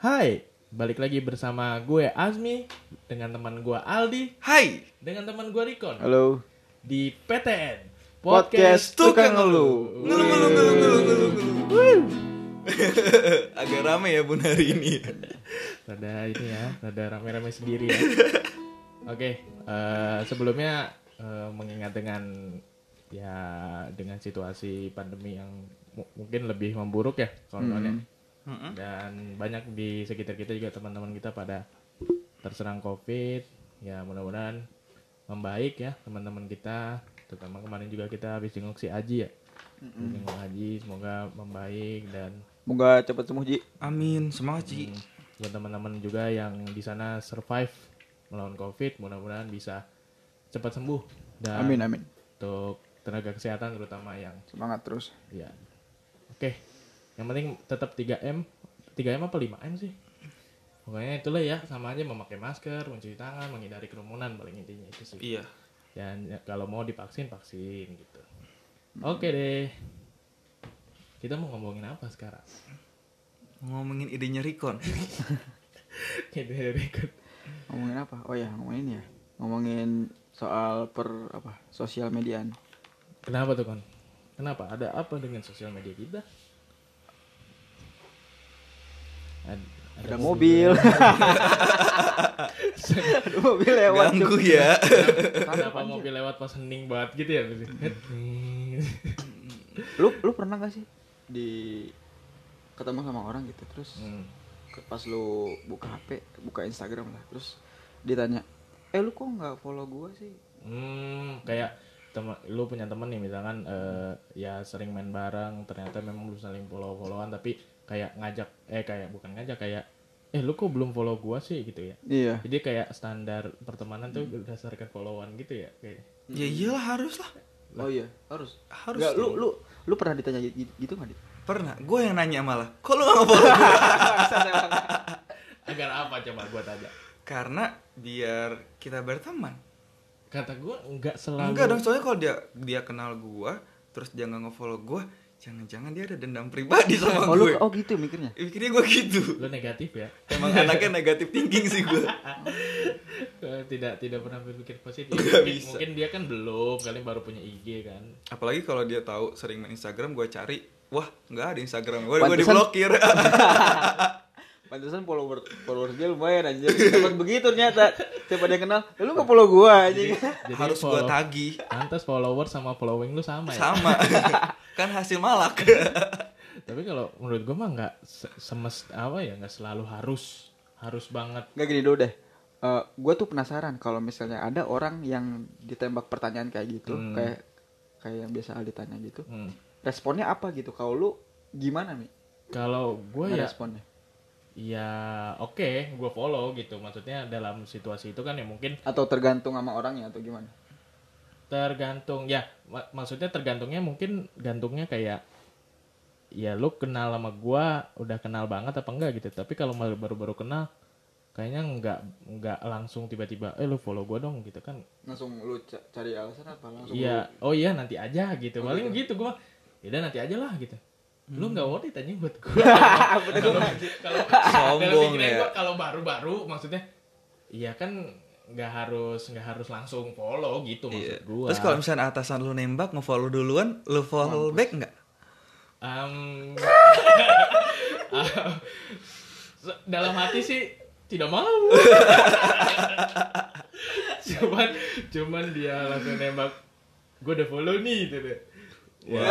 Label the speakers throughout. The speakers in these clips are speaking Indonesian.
Speaker 1: Hai, balik lagi bersama gue Azmi dengan teman gue Aldi
Speaker 2: Hai,
Speaker 1: dengan teman gue Rikon
Speaker 3: Halo.
Speaker 1: di PTN
Speaker 3: Podcast Tukang
Speaker 1: Ngeluh.
Speaker 3: Ngeluh.
Speaker 2: ngeluh ngeluh ngeluh ngeluh ngeluh ngeluh. Agak rame ya bun hari ini.
Speaker 1: Rada ini ya, rada rame-rame sendiri ya. Oke, eh, sebelumnya eh, mengingat dengan ya dengan situasi pandemi yang mu- mungkin lebih memburuk ya kawan-kawan ya.
Speaker 2: Mm-mm.
Speaker 1: Dan banyak di sekitar kita juga teman-teman kita pada terserang COVID. Ya mudah-mudahan membaik ya teman-teman kita. Terutama kemarin juga kita habis jenguk si Aji ya. Jenguk Aji semoga membaik dan
Speaker 3: Moga cepat sembuh Ji.
Speaker 2: Amin, semangat Ci.
Speaker 1: buat teman-teman juga yang di sana survive melawan covid mudah-mudahan bisa cepat sembuh dan
Speaker 3: Amin amin.
Speaker 1: untuk tenaga kesehatan terutama yang
Speaker 3: Semangat terus.
Speaker 1: ya oke yang penting tetap 3M 3M apa 5M sih pokoknya itulah ya sama aja memakai masker mencuci tangan menghindari kerumunan paling intinya itu sih
Speaker 2: Iya.
Speaker 1: dan ya, kalau mau divaksin vaksin gitu oke deh kita mau ngomongin apa sekarang
Speaker 2: Ngomongin idenya Rikon.
Speaker 1: kita record
Speaker 3: Ngomongin apa? Oh ya, ngomongin ini ya. Ngomongin soal per apa? Sosial mediaan.
Speaker 1: Kenapa tuh kon? Kenapa? Ada apa dengan sosial media kita? Ad-
Speaker 3: Ada mobil. Ada mobil lewat.
Speaker 2: Ganggu ya.
Speaker 1: Kenapa mobil lewat pas hening banget gitu ya?
Speaker 3: Hmm. Lu lu pernah gak sih di ketemu sama orang gitu terus
Speaker 1: Hmm.
Speaker 3: ke- pas lu buka HP, buka Instagram lah, terus ditanya, "Eh lu kok nggak follow gua sih?"
Speaker 1: Hmm, kayak teman lu punya temen nih misalkan eh, ya sering main bareng ternyata memang lu saling follow followan tapi kayak ngajak eh kayak bukan ngajak kayak eh lu kok belum follow gua sih gitu ya
Speaker 3: Iya.
Speaker 1: jadi kayak standar pertemanan tuh
Speaker 3: Hmm.
Speaker 1: berdasarkan followan gitu ya kayak
Speaker 2: Ya iyalah harus lah.
Speaker 3: Oh iya, harus.
Speaker 2: Harus
Speaker 3: Nggak, lu lu lu pernah ditanya gitu gitu nggak, Dit?
Speaker 2: Pernah, gue yang nanya malah. Kok lu gak nge-follow?
Speaker 1: agar apa coba gua tanya
Speaker 2: Karena biar kita berteman.
Speaker 1: kata gue nggak selalu
Speaker 2: Enggak dong, soalnya kalau dia dia kenal gue, terus dia nggak nge-follow gue, jangan-jangan dia ada dendam pribadi sama
Speaker 3: Oh,
Speaker 2: gue.
Speaker 3: lu, oh gitu mikirnya.
Speaker 2: Pikirnya gue gitu.
Speaker 1: lu negatif ya
Speaker 2: Emang anaknya negatif thinking sih gue.
Speaker 1: Eh, tidak tidak pernah berpikir positif
Speaker 2: Nggak
Speaker 1: mungkin,
Speaker 2: bisa.
Speaker 1: mungkin dia kan belum kali baru punya IG kan
Speaker 2: Apalagi kalau dia tahu sering main Instagram, gue cari, wah nggak ada Instagram, gue gue
Speaker 3: Pantesan-
Speaker 2: diblokir.
Speaker 3: Pantesan follower followers dia lumayan aja. Dapat begitu ternyata. Siapa dia kenal, "Eh, lu nggak follow gua anjing.
Speaker 1: jadi
Speaker 2: Harus gue
Speaker 1: follow-
Speaker 2: tagi
Speaker 1: Pantes follower sama following lu sama ya
Speaker 2: sama, kan hasil malak.
Speaker 1: Iya. tapi kalau menurut gue mah nggak se- semest apa ya nggak selalu harus harus banget
Speaker 3: Enggak gini dulu deh. Eh, gua tuh penasaran kalau misalnya ada orang yang ditembak pertanyaan kayak gitu,
Speaker 1: Hmm.
Speaker 3: kayak kayak yang biasa Al ditanya gitu.
Speaker 1: Hmm.
Speaker 3: Responnya apa gitu? Kalau lu gimana, Mi?
Speaker 1: kalau gue ya
Speaker 3: responnya.
Speaker 1: ya oke gue follow gitu maksudnya dalam situasi itu kan ya mungkin
Speaker 3: Atau tergantung sama orangnya atau gimana?
Speaker 1: tergantung ya ma- maksudnya tergantungnya mungkin gantungnya kayak ya lu kenal sama gua udah kenal banget apa enggak gitu tapi kalau mal- baru-baru kenal kayaknya nggak nggak langsung tiba-tiba eh lu follow gua dong gitu kan
Speaker 3: Langsung lu ca- cari alasan apa langsung?
Speaker 1: iya oh iya nanti aja gitu
Speaker 3: Oh,
Speaker 1: paling gitu gua ya udah nanti aja lah gitu
Speaker 2: Hmm.
Speaker 1: lu nggak worth it aja buat gua kalau kalau kalau
Speaker 2: Sombong
Speaker 1: pikiran
Speaker 2: ya.
Speaker 1: gua kalau baru-baru maksudnya iya kan nggak harus nggak harus langsung follow gitu maksud
Speaker 2: Iya.
Speaker 1: gua
Speaker 2: Terus kalau misalnya atasan lu nembak nge-follow duluan, lu follow back nggak?
Speaker 1: Um, se- dalam hati sih tidak mau. cuman cuman dia langsung nembak gue udah follow nih gitu deh. Iya.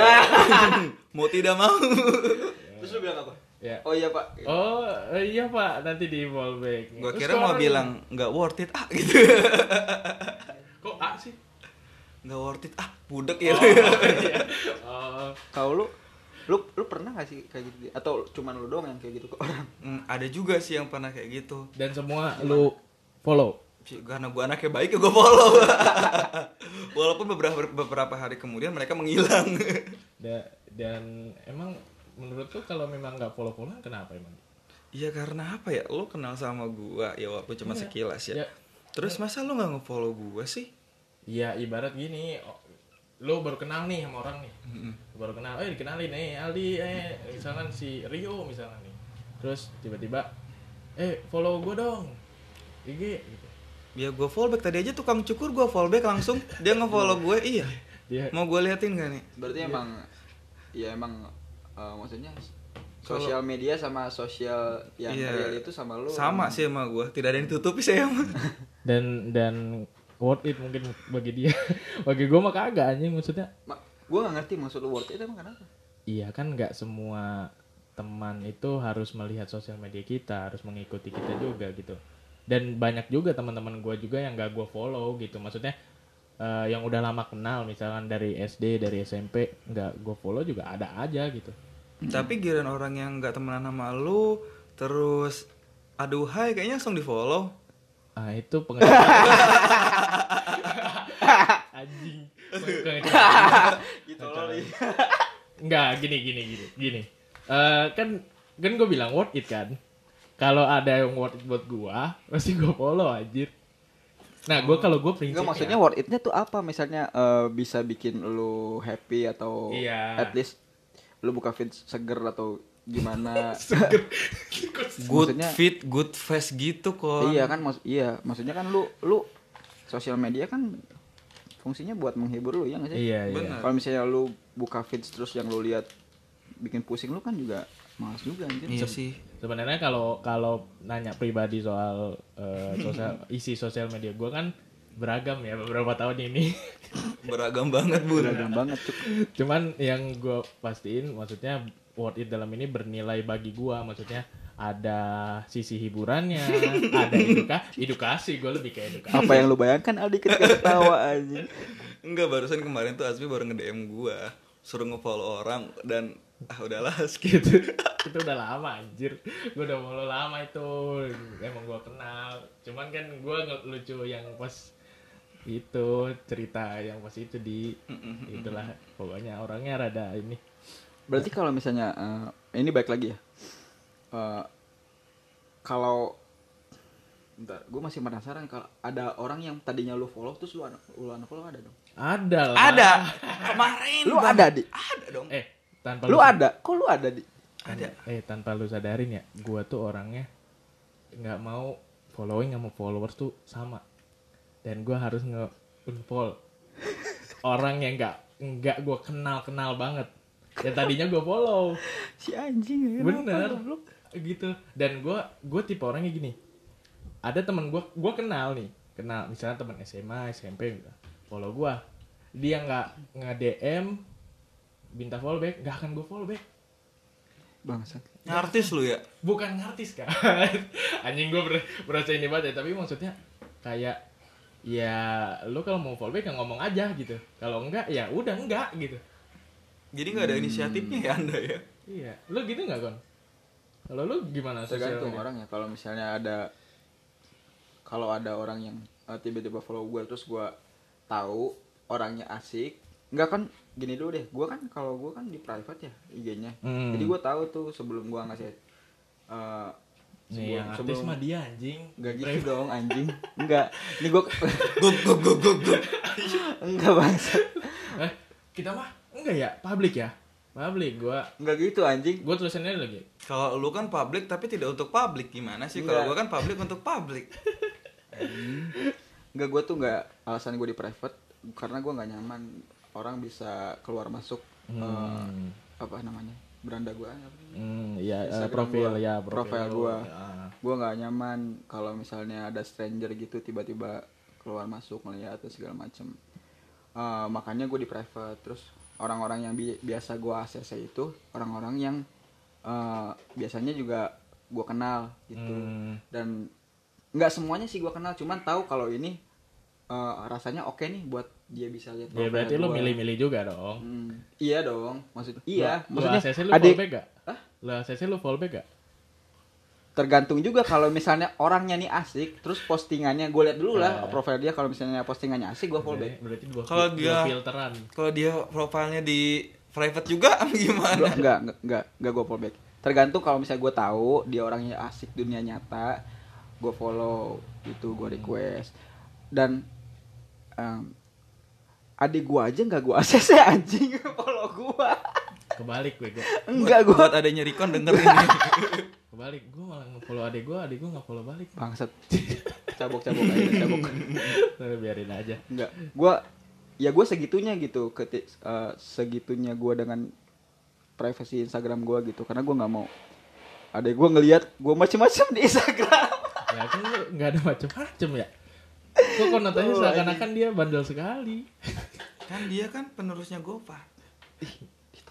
Speaker 2: mau tidak mau.
Speaker 3: lu. Terus lu bilang apa?
Speaker 1: Ya.
Speaker 3: Oh iya, Pak.
Speaker 1: Oh eh, iya pak nanti di fallback.
Speaker 2: Gue
Speaker 1: Terus
Speaker 2: kira mau
Speaker 1: orang-
Speaker 2: bilang nggak worth it ah gitu.
Speaker 1: kok A sih?
Speaker 2: Nggak worth it ah budek ya.
Speaker 1: Oh,
Speaker 3: Kalau lu lu lu pernah gak sih kayak gitu Di? atau cuman lu doang yang kayak gitu ke orang?
Speaker 2: Hmm, ada juga sih yang pernah kayak gitu.
Speaker 1: dan semua lu follow.
Speaker 2: Ci, Karena gue anaknya baik ya gue follow. Walaupun beberapa beberapa hari kemudian mereka menghilang.
Speaker 1: Da- dan emang menurut tuh kalau memang nggak follow followan kenapa emang?
Speaker 2: Iya karena apa ya? Lu kenal sama gua ya walaupun cuma
Speaker 1: Iya.
Speaker 2: sekilas ya.
Speaker 1: Ya.
Speaker 2: Terus masa lu nggak nge-follow gua sih?
Speaker 1: Iya ibarat gini, o- lo baru kenal nih sama orang nih, baru kenal, eh dikenalin, eh Aldi, eh misalkan si Rio misalkan nih, terus tiba-tiba eh follow gue dong IG gitu.
Speaker 2: Ya gue fallback tadi aja tukang cukur gue fallback langsung dia
Speaker 1: Ya.
Speaker 2: nge-follow gue iya.
Speaker 1: dia
Speaker 2: Mau gue liatin gak nih?
Speaker 3: Berarti emang ya emang eh, maksudnya sosial media sama sosial yang
Speaker 2: Iya.
Speaker 3: real itu sama lu.
Speaker 2: Sama sih sama gue, tidak ada yang ditutupi saya mah.
Speaker 1: dan dan worth it mungkin bagi dia bagi gue mah kagak anjing maksudnya
Speaker 3: Ma, gua gak ngerti maksud lu worth it emang kenapa?
Speaker 1: iya kan nggak semua teman itu harus melihat sosial media kita harus mengikuti kita juga gitu dan banyak juga teman-teman gue juga yang gak gue follow gitu maksudnya eh, yang udah lama kenal misalkan dari SD dari SMP nggak gue follow juga ada aja gitu
Speaker 2: Tapi giliran orang yang nggak temenan sama lu terus aduh hai kayaknya langsung di follow.
Speaker 1: ah itu pengetahuan anjing Pengetahuan.
Speaker 3: gitu loh.
Speaker 1: Enggak, gini gini gini gini. Eh kan kan gue bilang worth it kan. Kalau ada yang worth it buat gua, pasti gua follow anjir. Nah, gua kalau gua prinsip
Speaker 3: Oh. Enggak maksudnya worth it-nya tuh apa? Misalnya eh, bisa bikin lu happy atau
Speaker 1: Iya.
Speaker 3: at least lu buka feed seger atau gimana?
Speaker 2: Good
Speaker 3: Maksudnya-
Speaker 2: fit, good face gitu kok.
Speaker 3: iya kan mas iya maksudnya kan lu lu sosial media kan fungsinya buat menghibur lu ya nggak sih?
Speaker 1: Iya, iya.
Speaker 2: Bener.
Speaker 3: Kalau misalnya lu buka feeds terus yang lu lihat bikin pusing lu kan juga malas juga anjir.
Speaker 2: Iya sih.
Speaker 1: Sebenarnya kalau kalau nanya pribadi soal eh, sosial isi sosial media gua kan beragam ya beberapa tahun ini.
Speaker 2: Beragam banget, Bun.
Speaker 3: Serem banget cuk.
Speaker 1: Cuman yang gue pastiin maksudnya worth it dalam ini bernilai bagi gua maksudnya ada sisi hiburannya, ada eduka, edukasi, gue lebih ke edukasi.
Speaker 3: Apa yang lu bayangkan Aldi ketika ketawa anjing.
Speaker 2: Enggak, barusan kemarin tuh Azmi baru nge-DM gua, suruh nge-follow orang dan ah udahlah skip.
Speaker 1: gitu itu udah lama anjir gue udah follow lama itu emang gue kenal cuman kan gue lucu yang pas itu cerita yang pas itu di itulah pokoknya orangnya rada ini
Speaker 3: Berarti kalau misalnya eh, ini baik lagi ya. Eh, kalau bentar, gue masih penasaran kalau ada orang yang tadinya lu follow terus lu un- lu unfollow ada dong.
Speaker 1: ada lah
Speaker 2: Ada. Kemarin
Speaker 3: Lu
Speaker 2: Bang.
Speaker 3: ada di.
Speaker 2: Ada dong.
Speaker 1: eh tanpa
Speaker 3: Lu ada. Kok lu ada di?
Speaker 2: Ada.
Speaker 1: eh tanpa lu sadarin ya gue tuh orangnya nggak mau following sama followers tuh sama dan gue harus nge unfollow orang yang nggak nggak gue kenal kenal banget yang tadinya gue follow
Speaker 3: Si anjing. kenapa
Speaker 1: bener
Speaker 3: lu?
Speaker 1: gitu dan gue gue tipe orangnya gini ada teman gue gue kenal nih kenal misalnya teman SMA SMP gitu follow gue dia nggak nge DM minta follow back nggak akan gue follow back
Speaker 3: Bangsat.
Speaker 2: Artis lu ya?
Speaker 1: bukan artis kan anjing gue ber berasa ini banget ya tapi maksudnya kayak ya lu kalau mau follow back ya ngomong aja gitu kalau enggak ya udah enggak gitu
Speaker 2: Jadi nggak ada inisiatifnya ya Anda ya?
Speaker 1: iya lu gitu nggak kon kalau lu gimana sosial
Speaker 3: tergantung
Speaker 1: media?
Speaker 3: orangnya kalau misalnya ada kalau ada orang yang eh, tiba-tiba follow gue terus gue tahu orangnya asik nggak kan gini dulu deh gue kan kalau gue kan di private ya IG-nya
Speaker 1: Hmm.
Speaker 3: jadi gue tahu tuh sebelum gue ngasih eh
Speaker 1: nih yang artis mah dia anjing
Speaker 3: Gak gitu dong anjing Enggak Ini gue
Speaker 2: Gug gug gug gug gug.
Speaker 3: Enggak bangsa
Speaker 1: Eh, kita mah enggak ya, publik ya. Publik gua
Speaker 3: Enggak gitu anjing
Speaker 1: gua tulisannya lagi.
Speaker 2: Kalau lu kan publik tapi tidak untuk publik gimana sih? Kalau gua
Speaker 3: Enggak.
Speaker 2: kan publik untuk publik.
Speaker 3: Enggak gue tuh enggak Alasan gue di private Karena gue nggak nyaman Orang bisa keluar masuk eh,
Speaker 1: Hmm.
Speaker 3: Apa namanya Beranda gue apa namanya?
Speaker 1: Hmm, ya eh,
Speaker 3: Instagram
Speaker 1: profil
Speaker 3: gua.
Speaker 1: ya, profil,
Speaker 3: Profil
Speaker 1: lu.
Speaker 3: gua.
Speaker 1: Ah.
Speaker 3: gue nggak nyaman kalau misalnya ada stranger gitu tiba-tiba keluar masuk melihat dan segala macem Eh, makanya gue di private terus orang-orang yang bi- biasa gue ACC itu orang-orang yang eh, biasanya juga gue kenal gitu
Speaker 1: Hmm.
Speaker 3: dan nggak semuanya sih gue kenal cuman tahu kalau ini eh, rasanya oke nih buat dia bisa
Speaker 1: Ya
Speaker 3: lihat profil
Speaker 1: berarti lu
Speaker 3: gua.
Speaker 1: milih-milih juga dong.
Speaker 3: Hmm, iya dong maksud iya
Speaker 1: Lu- lu
Speaker 3: maksudnya
Speaker 1: ACC lu
Speaker 3: ada-
Speaker 1: fallback gak?
Speaker 3: Hah?
Speaker 1: Lu ACC lu fallback gak?
Speaker 3: tergantung juga kalau misalnya orangnya nih asik terus postingannya gue lihat dulu lah
Speaker 1: Eh.
Speaker 3: profil dia kalau misalnya postingannya asik gue follow back
Speaker 1: Berarti dua,
Speaker 2: Kalau
Speaker 1: dua
Speaker 2: dia-
Speaker 1: filteran.
Speaker 2: Kalau dia profilnya di private juga
Speaker 3: Bro,
Speaker 2: gimana?
Speaker 3: enggak enggak enggak enggak gue follow back tergantung kalau misalnya gue tahu dia orangnya asik dunia nyata gue follow gitu
Speaker 1: Hmm.
Speaker 3: gue request dan em, adik gue aja nggak gue acc anjing follow gue
Speaker 1: Kebalik gue, gue.
Speaker 3: Enggak gue
Speaker 2: Buat adanya Rikon denger ini.
Speaker 1: Kebalik. Gue malah nge-follow adek gue, adek gue nggak follow balik.
Speaker 3: bangsat. Cabok-cabok aja, cabok.
Speaker 1: Udah, Nah, Biarin aja.
Speaker 3: Enggak. Gue ya gue segitunya gitu, keti, eh, segitunya gue dengan privasi Instagram gue gitu, karena gue nggak mau ada gue ngelihat gue macem-macem di Instagram.
Speaker 1: Ya kan lu nggak ada macem-macem ya. Kok konotasinya seakan-akan dia bandel sekali.
Speaker 2: kan dia kan penerusnya Gopa.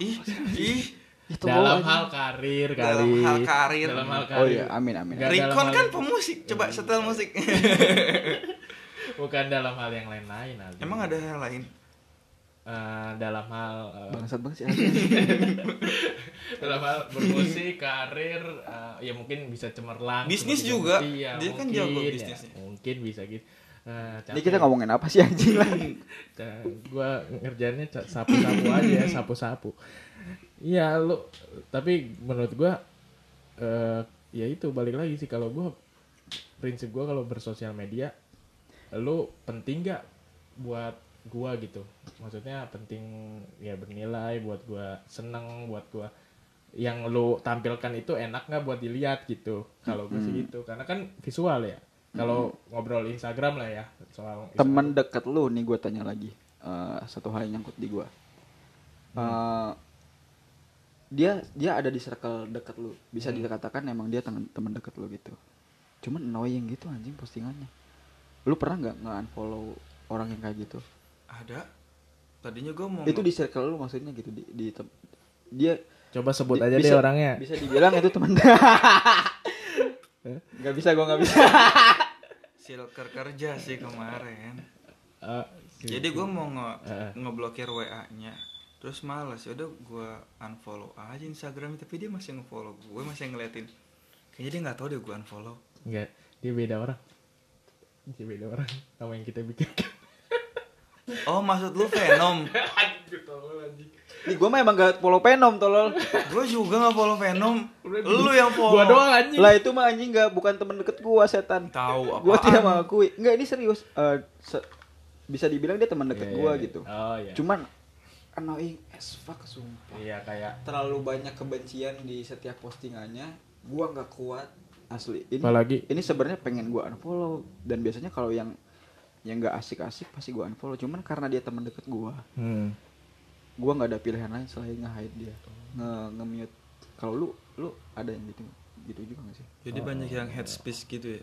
Speaker 2: Ih, ih,
Speaker 3: Itu
Speaker 1: Dalam
Speaker 3: gua-
Speaker 1: hal karir kali.
Speaker 2: Dalam hal karir.
Speaker 1: Dalam hal karir.
Speaker 3: Ya, Oh iya, amin amin.
Speaker 1: Nggak Iya. dalam
Speaker 2: Rikon
Speaker 1: hal-
Speaker 2: kan pemusik. Coba setel musik.
Speaker 1: Bukan dalam hal yang lain-lain. Aldi.
Speaker 2: Emang ada hal lain?
Speaker 1: Eh, dalam hal eh,
Speaker 3: Bangsat banget sih. Aldi.
Speaker 1: dalam hal bermusik karir eh, ya mungkin bisa cemerlang
Speaker 2: Bisnis
Speaker 1: seperti-
Speaker 2: juga.
Speaker 1: iya,
Speaker 2: Dia kan
Speaker 1: mungkin
Speaker 2: jago
Speaker 1: ya.
Speaker 2: bisnisnya.
Speaker 1: mungkin bisa gitu Eh,
Speaker 3: Ini
Speaker 1: capek.
Speaker 3: kita ngomongin apa sih anjing lah?
Speaker 1: Ca- Nah, gua ngerjainnya ca- sapu-sapu aja ya, sapu-sapu iya lu tapi menurut gua eh ya itu balik lagi sih kalau gua prinsip gua kalau bersosial media lu penting gak buat gua gitu maksudnya penting ya bernilai buat gua seneng buat gua yang lu tampilkan itu enak nggak buat dilihat gitu kalau gue sih gitu karena kan visual ya kalau ngobrol Instagram lah ya soal Instagram.
Speaker 3: Temen deket lu nih gue tanya lagi Eh, satu hal yang nyangkut di gue. Eh, dia dia ada di circle deket lu bisa dikatakan emang dia temen temen deket lu gitu. Cuman annoying gitu anjing postingannya. Lu pernah nggak nge unfollow orang yang kayak gitu?
Speaker 2: Ada. Tadinya gue mau
Speaker 3: Itu di circle lu maksudnya gitu di, di tem- dia
Speaker 1: Coba sebut
Speaker 3: di-
Speaker 1: aja
Speaker 3: bisa,
Speaker 1: deh orangnya.
Speaker 3: Bisa dibilang itu temen. Gak bisa gue gak bisa.
Speaker 2: silker kerja sih kemarin.
Speaker 1: Eh, si-
Speaker 2: Jadi gue mau nge
Speaker 1: Heeh.
Speaker 2: ngeblokir WA-nya. Terus males, ya udah gue unfollow aja Instagram tapi dia masih ngefollow gue, masih ngeliatin. Kayaknya dia nggak tahu deh gue unfollow.
Speaker 1: enggak, dia beda orang. Dia beda orang sama yang kita bikin.
Speaker 2: Oh, maksud lu Venom?
Speaker 3: Ih, gue mah emang gak follow Venom tolol.
Speaker 2: gue juga nggak follow Venom. Lu yang
Speaker 3: Oh.
Speaker 2: follow.
Speaker 1: Gua doang anjing.
Speaker 3: Lah itu mah anjing gak bukan temen deket gua setan.
Speaker 2: Tahu apa?
Speaker 3: Gua tidak mengakui. Enggak ini serius. Eh, se- bisa dibilang dia teman deket
Speaker 1: Iya,
Speaker 3: gua
Speaker 1: iya.
Speaker 3: gitu.
Speaker 1: Oh iya.
Speaker 3: Cuman annoying as fuck sumpah.
Speaker 1: Iya kayak
Speaker 3: Terlalu banyak kebencian di setiap postingannya. Gua nggak kuat asli. Ini
Speaker 1: Apalagi-
Speaker 3: ini sebenarnya pengen gua unfollow dan biasanya kalau yang yang nggak asik-asik pasti gua unfollow. Cuman karena dia teman deket gua,
Speaker 1: hmm.
Speaker 3: gua nggak ada pilihan lain selain nge-hide dia. Nge, nge-mute. Kalau lu lu ada yang gitu gitu juga gak sih?
Speaker 2: Jadi banyak yang headspace gitu ya.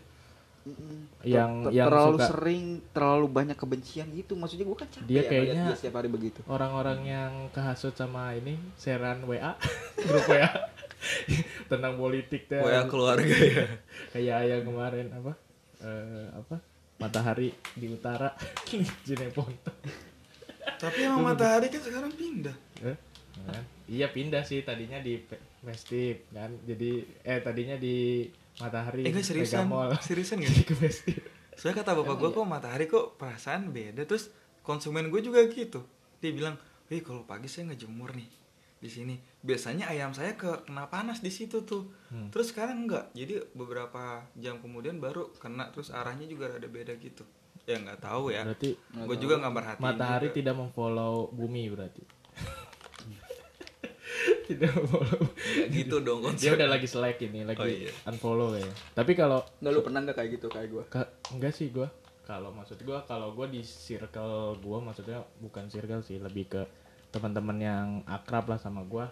Speaker 3: Mm-mm.
Speaker 1: Yang-
Speaker 3: Ter- ter-
Speaker 1: yang
Speaker 3: terlalu
Speaker 1: suka-
Speaker 3: sering terlalu banyak kebencian gitu maksudnya gue kan capek
Speaker 1: Dia
Speaker 3: ya ngeliat
Speaker 1: kayaknya-
Speaker 3: dia setiap hari begitu
Speaker 1: orang-orang yang kehasut sama ini seran WA, grup WA tentang politik teh.
Speaker 2: WA keluarga ya.
Speaker 1: Kayak yang kemarin apa? Eh, apa? Matahari di utara Cineponto.
Speaker 2: Tapi emang
Speaker 1: Iya.
Speaker 2: matahari kan sekarang pindah.
Speaker 1: Eh, kan? Iya pindah sih tadinya di Pe- Mestip kan. Jadi eh tadinya di Matahari
Speaker 2: Eh, gue seriusan.
Speaker 1: Megamall.
Speaker 2: Seriusan gak
Speaker 1: Jadi ke Mestip.
Speaker 2: Soalnya kata bapak gue kok matahari kok perasaan beda. Terus konsumen gue juga gitu. Dia bilang, wih kalau pagi saya ngejemur nih di sini. Biasanya ayam saya ke kena panas di situ tuh.
Speaker 1: Hmm.
Speaker 2: Terus sekarang enggak. Jadi beberapa jam kemudian baru kena. Terus arahnya juga ada beda gitu. Ya nggak tahu ya.
Speaker 1: Berarti
Speaker 2: Gue juga nggak merhatiin.
Speaker 1: Matahari
Speaker 2: juga.
Speaker 1: tidak memfollow bumi berarti. tidak memfollow.
Speaker 2: Nggak gitu dong
Speaker 1: Dia
Speaker 2: konsep.
Speaker 1: udah lagi selek ini, lagi
Speaker 2: Oh, iya.
Speaker 1: unfollow ya. Tapi kalau
Speaker 3: nggak lu pernah nggak kayak gitu kayak gue
Speaker 1: Ka- enggak sih gua kalau maksud gua kalau gua di circle gua maksudnya bukan circle sih lebih ke teman-teman yang akrab lah sama gua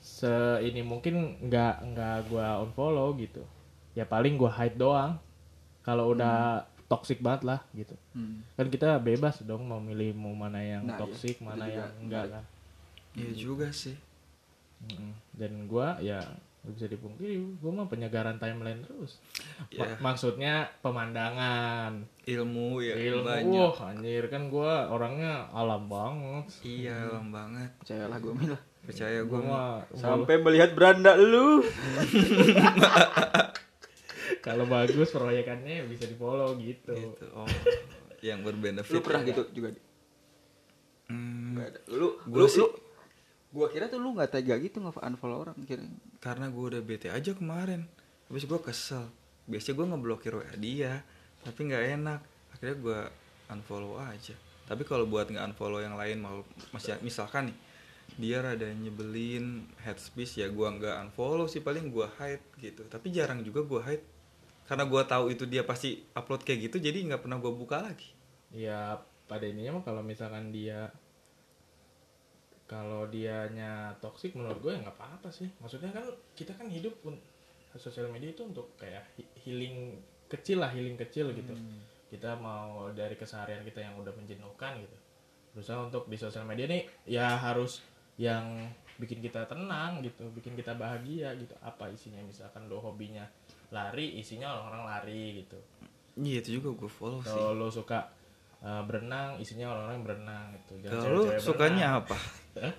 Speaker 1: se ini mungkin nggak nggak gua unfollow gitu ya paling gua hide doang kalau
Speaker 3: Hmm.
Speaker 1: udah toxic banget lah gitu kan kita bebas dong mau milih mau mana yang
Speaker 3: Nah, iya.
Speaker 1: toxic
Speaker 3: Itu
Speaker 1: mana
Speaker 3: juga
Speaker 1: yang enggak
Speaker 3: menarik.
Speaker 1: kan
Speaker 2: Iya juga sih.
Speaker 1: Mm-mm. dan gua ya nggak bisa dipungkiri gua mah penyegaran timeline terus Ma-
Speaker 2: Iya.
Speaker 1: maksudnya pemandangan
Speaker 2: Ilmu ya
Speaker 1: Ilmu,
Speaker 2: banyak.
Speaker 1: wah, anjir kan gue orangnya alam banget.
Speaker 2: Iya,
Speaker 1: Hmm.
Speaker 2: lama banget.
Speaker 3: percayalah gue mil
Speaker 2: Percaya
Speaker 1: Gue
Speaker 2: gue.
Speaker 1: mah
Speaker 3: sampai melihat beranda lu
Speaker 1: kalau bagus proyekannya bisa di follow gitu.
Speaker 2: Gitu. Oh. yang berbenefit.
Speaker 3: lu pernah gitu juga Di?
Speaker 2: Hmm,
Speaker 3: Nggak ada. lu
Speaker 2: Gua
Speaker 3: lu
Speaker 2: sih-
Speaker 3: lu gue kira tuh lu nggak tega gitu nge unfollow orang kira
Speaker 2: karena gue udah bete aja kemarin habis gue kesel biasanya gue ngeblokir wa dia tapi nggak enak akhirnya gue unfollow aja tapi kalau buat nggak unfollow yang lain mau masih misalkan nih dia rada nyebelin headspace ya gua nggak unfollow sih paling gua hide gitu tapi jarang juga gua hide karena gua tahu itu dia pasti upload kayak gitu jadi nggak pernah gua buka lagi
Speaker 1: ya pada ininya mah kalau misalkan dia kalau dianya toksik menurut gue ya nggak apa-apa sih maksudnya kan kita kan hidup pun sosial media itu untuk kayak he- healing kecil lah healing kecil gitu kita mau dari keseharian kita yang udah menjenuhkan gitu berusaha untuk di sosial media nih ya harus yang bikin kita tenang gitu bikin kita bahagia gitu apa isinya misalkan lo hobinya lari isinya orang-orang lari gitu
Speaker 2: iya itu juga gua follow sih
Speaker 3: Oh,
Speaker 1: kalau lo suka uh, berenang isinya orang-orang yang berenang gitu
Speaker 3: iya,
Speaker 1: Jangan
Speaker 2: kalau
Speaker 1: cewek-cewek berenang.
Speaker 2: sukanya apa
Speaker 1: Hah?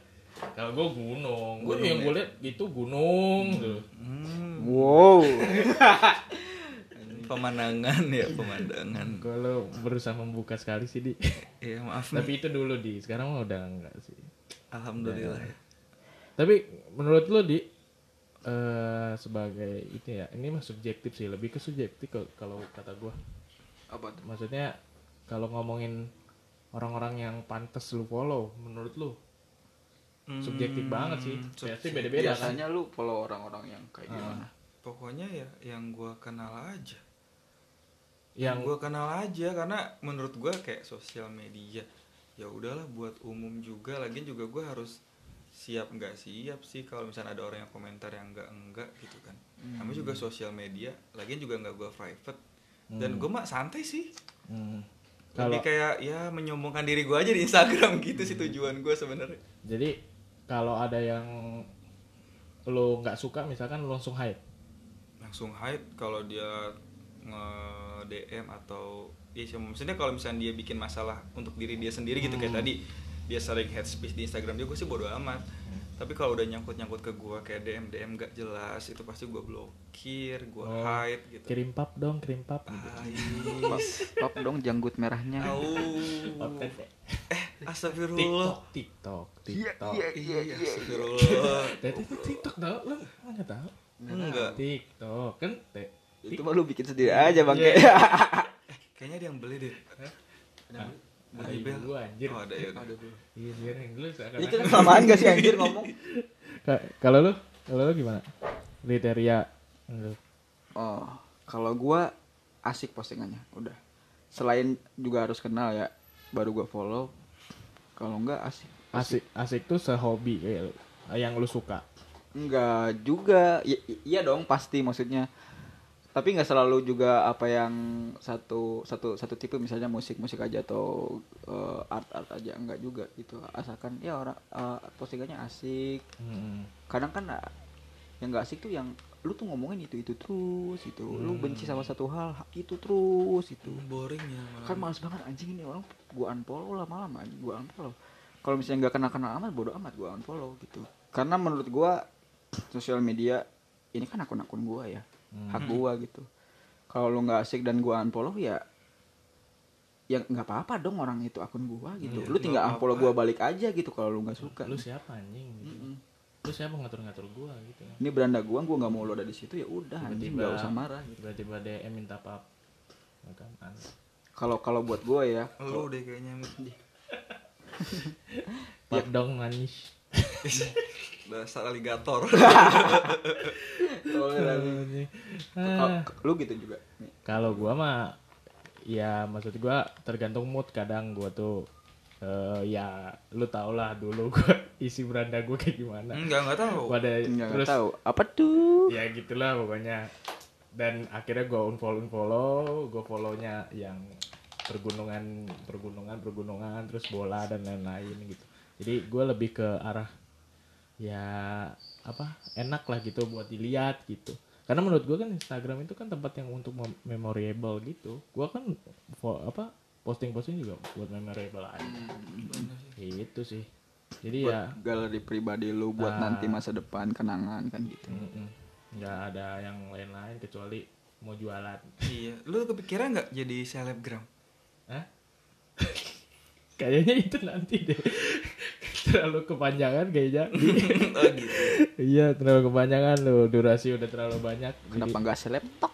Speaker 1: Kalau gue gunung, gue
Speaker 2: Gunung
Speaker 1: yang
Speaker 2: ya?
Speaker 1: gue liat itu gunung gitu. tuh.
Speaker 2: hmm,
Speaker 3: Wow.
Speaker 2: pemandangan ya pemandangan
Speaker 1: Kalau berusaha membuka sekali sih di.
Speaker 2: ya maaf nih.
Speaker 1: Tapi itu dulu di. Sekarang mah udah enggak sih.
Speaker 2: alhamdulillah ya.
Speaker 1: Tapi menurut lo di eh sebagai itu ya ini mah subjektif sih lebih ke subjektif kalau- kalau kata gue.
Speaker 3: Apa tuh?
Speaker 1: Maksudnya kalau ngomongin orang-orang yang pantas lu follow menurut lu subjektif
Speaker 2: Hmm,
Speaker 1: banget sih.
Speaker 2: sub-
Speaker 1: Pasti beda-beda kan. Ah.
Speaker 3: Biasanya lu follow orang-orang yang kayak gimana?
Speaker 2: pokoknya ya yang gua kenal aja
Speaker 1: Yang
Speaker 2: yang gue kenal aja karena menurut gue kayak sosial media ya udahlah buat umum juga lagi juga gue harus siap nggak siap sih kalau misalnya ada orang yang komentar yang enggak enggak gitu kan
Speaker 1: Hmm.
Speaker 2: kami juga sosial media lagi juga nggak gue private dan gue mah santai sih
Speaker 1: Hmm.
Speaker 2: lebih kayak ya menyombongkan diri gue aja di Instagram gitu sih tujuan gue sebenarnya
Speaker 1: Jadi kalau ada yang lo nggak suka misalkan lo langsung hide.
Speaker 2: langsung hide kalau dia nge DM atau ya sih, maksudnya kalau misalnya dia bikin masalah untuk diri dia sendiri gitu
Speaker 1: Hmm.
Speaker 2: kayak tadi dia sering headspace di Instagram dia gue sih bodo amat tapi kalau udah nyangkut nyangkut ke gue kayak DM DM gak jelas itu pasti gue blokir gue
Speaker 1: Oh,
Speaker 2: hide gitu
Speaker 1: Kirim pap dong, kirim pap. Gitu.
Speaker 3: Pop,
Speaker 2: Ais.
Speaker 3: pop dong janggut merahnya.
Speaker 2: Au.
Speaker 1: Pap tete.
Speaker 2: Astagfirullah
Speaker 1: TikTok, TikTok, TikTok.
Speaker 2: iya iya Astagfirullah
Speaker 1: Tete itu TikTok tau? Lo nggak tahu?
Speaker 2: enggak
Speaker 1: TikTok kan te.
Speaker 3: Itu mah lu bikin sendiri aja bang.
Speaker 1: Iya,
Speaker 2: kayaknya ada yang beli deh
Speaker 1: Nah,
Speaker 2: bunyi bel
Speaker 1: gue anjir.
Speaker 2: oh ada ya udah.
Speaker 1: Iya biarin dulu seakan-
Speaker 3: Ini kan- kita kesamaan gak sih anjir ngomong?
Speaker 1: Ka- Kalau lo, kalau lo gimana? Kriteria lo.
Speaker 3: Oh, kalau gua asik postingannya, udah. Selain juga harus kenal ya, baru gua follow. Kalau enggak asik.
Speaker 1: Asik, asik tuh sehobi kayak lo, yang lo suka.
Speaker 3: Enggak juga. I- i- iya dong pasti maksudnya. Tapi nggak selalu juga apa yang satu satu satu tipe misalnya musik-musik aja atau eh, art-art aja enggak juga gitu. Asalkan ya orang eh, postingannya asik.
Speaker 1: Hmm.
Speaker 3: Kadang kan eh, yang nggak asik tuh yang lu tuh ngomongin itu itu terus itu lu benci sama satu hal ha- itu terus gitu. itu
Speaker 2: boring ya
Speaker 3: kan males banget anjing ini orang gua unfollow lah malam anjing gua unfollow kalau misalnya nggak kenal kenal amat bodo amat gua unfollow gitu karena menurut gua sosial media ini kan akun akun gua ya
Speaker 1: Hmm.
Speaker 3: hak gua gitu kalau lu nggak asik dan gua unfollow ya ya nggak apa apa dong orang itu akun gua gitu
Speaker 2: Iya,
Speaker 3: lu tinggal
Speaker 2: nggak
Speaker 3: unfollow
Speaker 2: apa-apa.
Speaker 3: gua balik aja gitu kalau lu nggak suka Hmm.
Speaker 1: Lu siapa anjing? Gitu.
Speaker 3: Mm-mm.
Speaker 1: Lu siapa ngatur-ngatur gua gitu?
Speaker 3: ini beranda gua gua nggak mau lu ada di situ ya udah anjing nggak usah marah gitu
Speaker 1: tiba-tiba DM minta pap Ya kan aneh.
Speaker 3: kalau kalau buat gua ya
Speaker 2: lu deh kayaknya
Speaker 1: pap dong manis
Speaker 2: dasar aligator
Speaker 3: Kalau- lu gitu juga nih
Speaker 1: Ah. kalau gua mah ya maksud gua tergantung mood kadang gua tuh eh, ya lu tau lah dulu gua isi beranda gua kayak gimana
Speaker 2: Enggak, enggak tahu.
Speaker 1: gua ada
Speaker 3: nggak
Speaker 1: terus
Speaker 3: tahu apa tuh
Speaker 1: ya gitulah pokoknya dan akhirnya gua unfollow unfollow gua follownya yang pergunungan pergunungan pergunungan terus bola dan lain-lain gitu jadi gua lebih ke arah ya apa enak lah gitu buat dilihat gitu karena menurut gua kan Instagram itu kan tempat yang untuk mem- memorable gitu gua kan fo- apa posting-posting juga buat memorable aja itu sih jadi ya
Speaker 3: buat galeri pribadi lu buat
Speaker 1: Nah.
Speaker 3: nanti masa depan kenangan kan gitu.
Speaker 1: mm-mm. nggak ada yang lain-lain kecuali mau jualan
Speaker 2: iya lu kepikiran nggak jadi selebgram
Speaker 1: Hah? Kayaknya itu nanti deh. terlalu kepanjangan kayaknya.
Speaker 2: oh gitu
Speaker 1: iya, terlalu kepanjangan loh. Durasi udah terlalu banyak.
Speaker 3: Kenapa
Speaker 1: Jadi-
Speaker 3: nggak seleptok?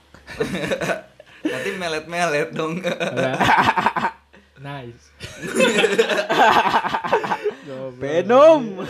Speaker 2: nanti melet melet dong
Speaker 1: Nah, nice. Goblok.
Speaker 3: Venom.